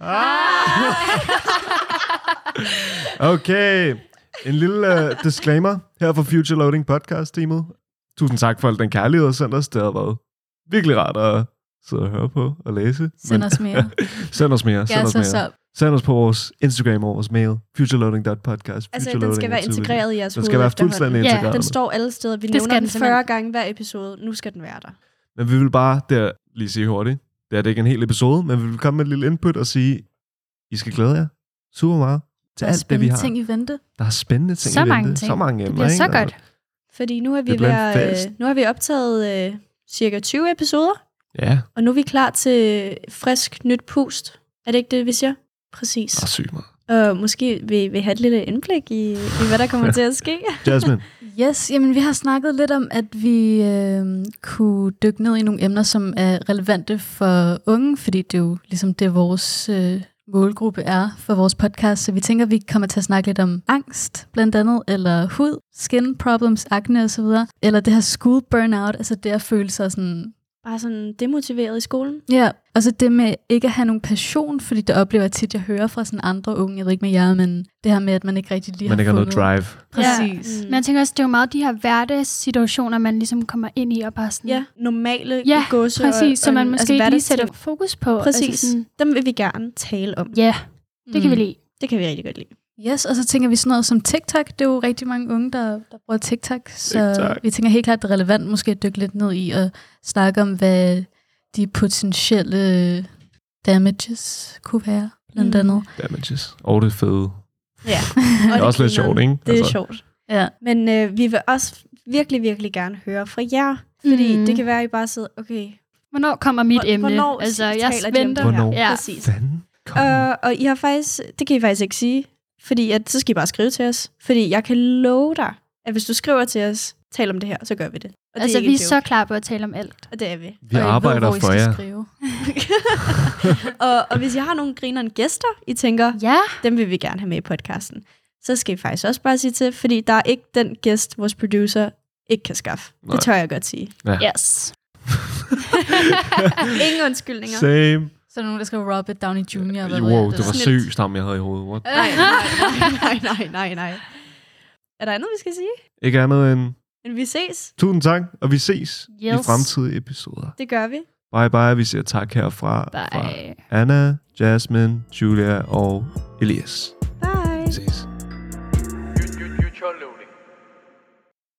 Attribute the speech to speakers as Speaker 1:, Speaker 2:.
Speaker 1: Ah! okay. En lille uh, disclaimer her fra Future Loading podcast-teamet. Tusind tak for al den kærlighed, og send os. Det har været virkelig rart at sidde og høre på og læse.
Speaker 2: Send os mere.
Speaker 1: send os mere. Send
Speaker 2: Gas
Speaker 1: os
Speaker 2: os
Speaker 1: mere.
Speaker 2: op.
Speaker 1: Send os på vores Instagram og vores mail. Futureloading.podcast.
Speaker 3: Altså, den
Speaker 1: futureloading
Speaker 3: skal være
Speaker 1: er tydeligt.
Speaker 3: integreret i jeres
Speaker 1: Den skal være
Speaker 3: efterhånden.
Speaker 1: fuldstændig
Speaker 2: Ja,
Speaker 3: Den
Speaker 1: integreret.
Speaker 3: står alle steder. Vi
Speaker 2: Det
Speaker 3: nævner
Speaker 2: skal
Speaker 3: den
Speaker 2: den simpelthen.
Speaker 3: 40 gange hver episode. Nu skal den være der.
Speaker 1: Men vi vil bare der lige sige hurtigt. Det er det ikke en hel episode, men vi vil komme med et lille input og sige, I skal glæde jer super meget til alt det, vi har.
Speaker 2: ting i vente.
Speaker 1: Der er spændende ting
Speaker 2: Så
Speaker 1: i
Speaker 2: mange
Speaker 1: vente.
Speaker 2: ting.
Speaker 1: Så mange
Speaker 2: Det
Speaker 1: emner,
Speaker 2: bliver
Speaker 1: ikke?
Speaker 2: så godt.
Speaker 3: Fordi nu har vi,
Speaker 1: Det bliver en
Speaker 3: ved at,
Speaker 1: fest.
Speaker 3: øh, nu har vi optaget øh, cirka 20 episoder,
Speaker 1: Og, ja,
Speaker 3: og nu er vi klar til frisk nyt pust. Er det ikke det, vi siger? Præcis.
Speaker 1: der er sygt meget.
Speaker 3: Og måske vil vi have et lille indblik i, i hvad der kommer til at ske.
Speaker 1: Jasmine,
Speaker 2: Yes, jamen vi har snakket lidt om, at vi øh, kunne dykke ned i nogle emner, som er relevante for unge, fordi det er jo ligesom det, vores øh, målgruppe er for vores podcast. Så vi tænker, at vi kommer til at snakke lidt om angst, blandt andet, eller hud, skin problems, acne osv., eller det her school burnout, altså det at føle sig sådan
Speaker 3: Bare sådan demotiveret i skolen.
Speaker 2: Ja, og så det med ikke at have nogen passion, fordi det oplever jeg tit, jeg hører fra sådan andre unge, jeg ved ikke med jer, men det her med, at man ikke rigtig lige
Speaker 1: man
Speaker 2: har
Speaker 1: ikke har
Speaker 2: fundet.
Speaker 1: noget drive.
Speaker 2: Præcis.
Speaker 3: Mm.
Speaker 4: Men jeg tænker også, det er jo meget de her hverdagssituationer, man ligesom kommer ind i og bare sådan...
Speaker 3: ja, normale
Speaker 4: Ja,
Speaker 3: gåse. altså,
Speaker 4: præcis, så man måske ikke lige
Speaker 3: hverdagsting.
Speaker 4: sætter fokus på. altså
Speaker 3: Præcis. Mm.
Speaker 4: sådan,
Speaker 3: Dem vil vi gerne tale om.
Speaker 4: ja, det kan vi lide.
Speaker 3: Det kan vi rigtig godt lide.
Speaker 2: Yes, og så tænker vi sådan noget som TikTok. Det er jo rigtig mange unge, der, der bruger TikTok. Så
Speaker 1: TikTok.
Speaker 2: vi tænker helt klart, det er relevant måske at dykke lidt ned i og snakke om, hvad de potentielle damages kunne være, blandt
Speaker 3: Mm.
Speaker 2: andet.
Speaker 1: Damages. Og det er fede.
Speaker 3: Ja.
Speaker 1: Det er også lidt
Speaker 3: grineren.
Speaker 1: sjovt, ikke? Altså,
Speaker 3: Det er sjovt.
Speaker 2: Ja.
Speaker 3: Men øh, vi vil også virkelig, virkelig gerne høre fra jer. Fordi mm. det kan være, at I bare sidder, okay,
Speaker 4: Hvornår kommer mit
Speaker 3: Hvor-
Speaker 4: emne?
Speaker 3: hvornår
Speaker 4: altså,
Speaker 3: sig-
Speaker 4: jeg
Speaker 3: taler de om
Speaker 4: venter.
Speaker 3: det her?
Speaker 1: Hvornår?
Speaker 4: Ja.
Speaker 3: præcis.
Speaker 1: Fanden, kom.
Speaker 3: Øh, og I har faktisk, det kan I faktisk ikke sige, fordi at, så skal I bare skrive til os. Fordi jeg kan love dig, at hvis du skriver til os, tal om det her, så gør vi det. Og
Speaker 4: Altså,
Speaker 3: det
Speaker 4: vi
Speaker 3: er
Speaker 4: er så klar på at tale om alt.
Speaker 3: Og det er vi.
Speaker 1: vi
Speaker 2: og I ved,
Speaker 1: arbejder
Speaker 2: hvor I
Speaker 1: for
Speaker 2: skal
Speaker 1: jer.
Speaker 2: Skrive.
Speaker 3: og, og hvis jeg har nogle grinerne gæster, I tænker,
Speaker 4: Ja,
Speaker 3: dem vil vi gerne have med i podcasten, så skal I faktisk også bare sige til, fordi der er ikke den gæst, vores producer ikke kan skaffe. Nej.
Speaker 1: Nej.
Speaker 3: Det tør jeg godt sige.
Speaker 4: yes.
Speaker 3: Ingen undskyldninger.
Speaker 1: Same.
Speaker 2: Så er der nogen, der skriver Robert Downey Jr. eller hvad ved
Speaker 1: Øh,
Speaker 2: jeg,
Speaker 1: Wow, det var
Speaker 2: der.
Speaker 3: Snit.
Speaker 1: seriøst ham, jeg havde i hovedet. What?
Speaker 3: Nej, nej, nej, nej, nej, nej. Er der andet, vi skal sige?
Speaker 1: Ikke andet end
Speaker 3: Men vi ses.
Speaker 1: tusind tak, og vi ses i
Speaker 4: Yes.
Speaker 1: fremtidige episoder.
Speaker 3: Det gør vi.
Speaker 1: Bye bye, vi siger tak herfra fra
Speaker 4: Bye.
Speaker 1: Anna, Jasmine, Julia og Elias.
Speaker 3: Bye.
Speaker 1: Vi ses.
Speaker 5: You, you, you, you're loading.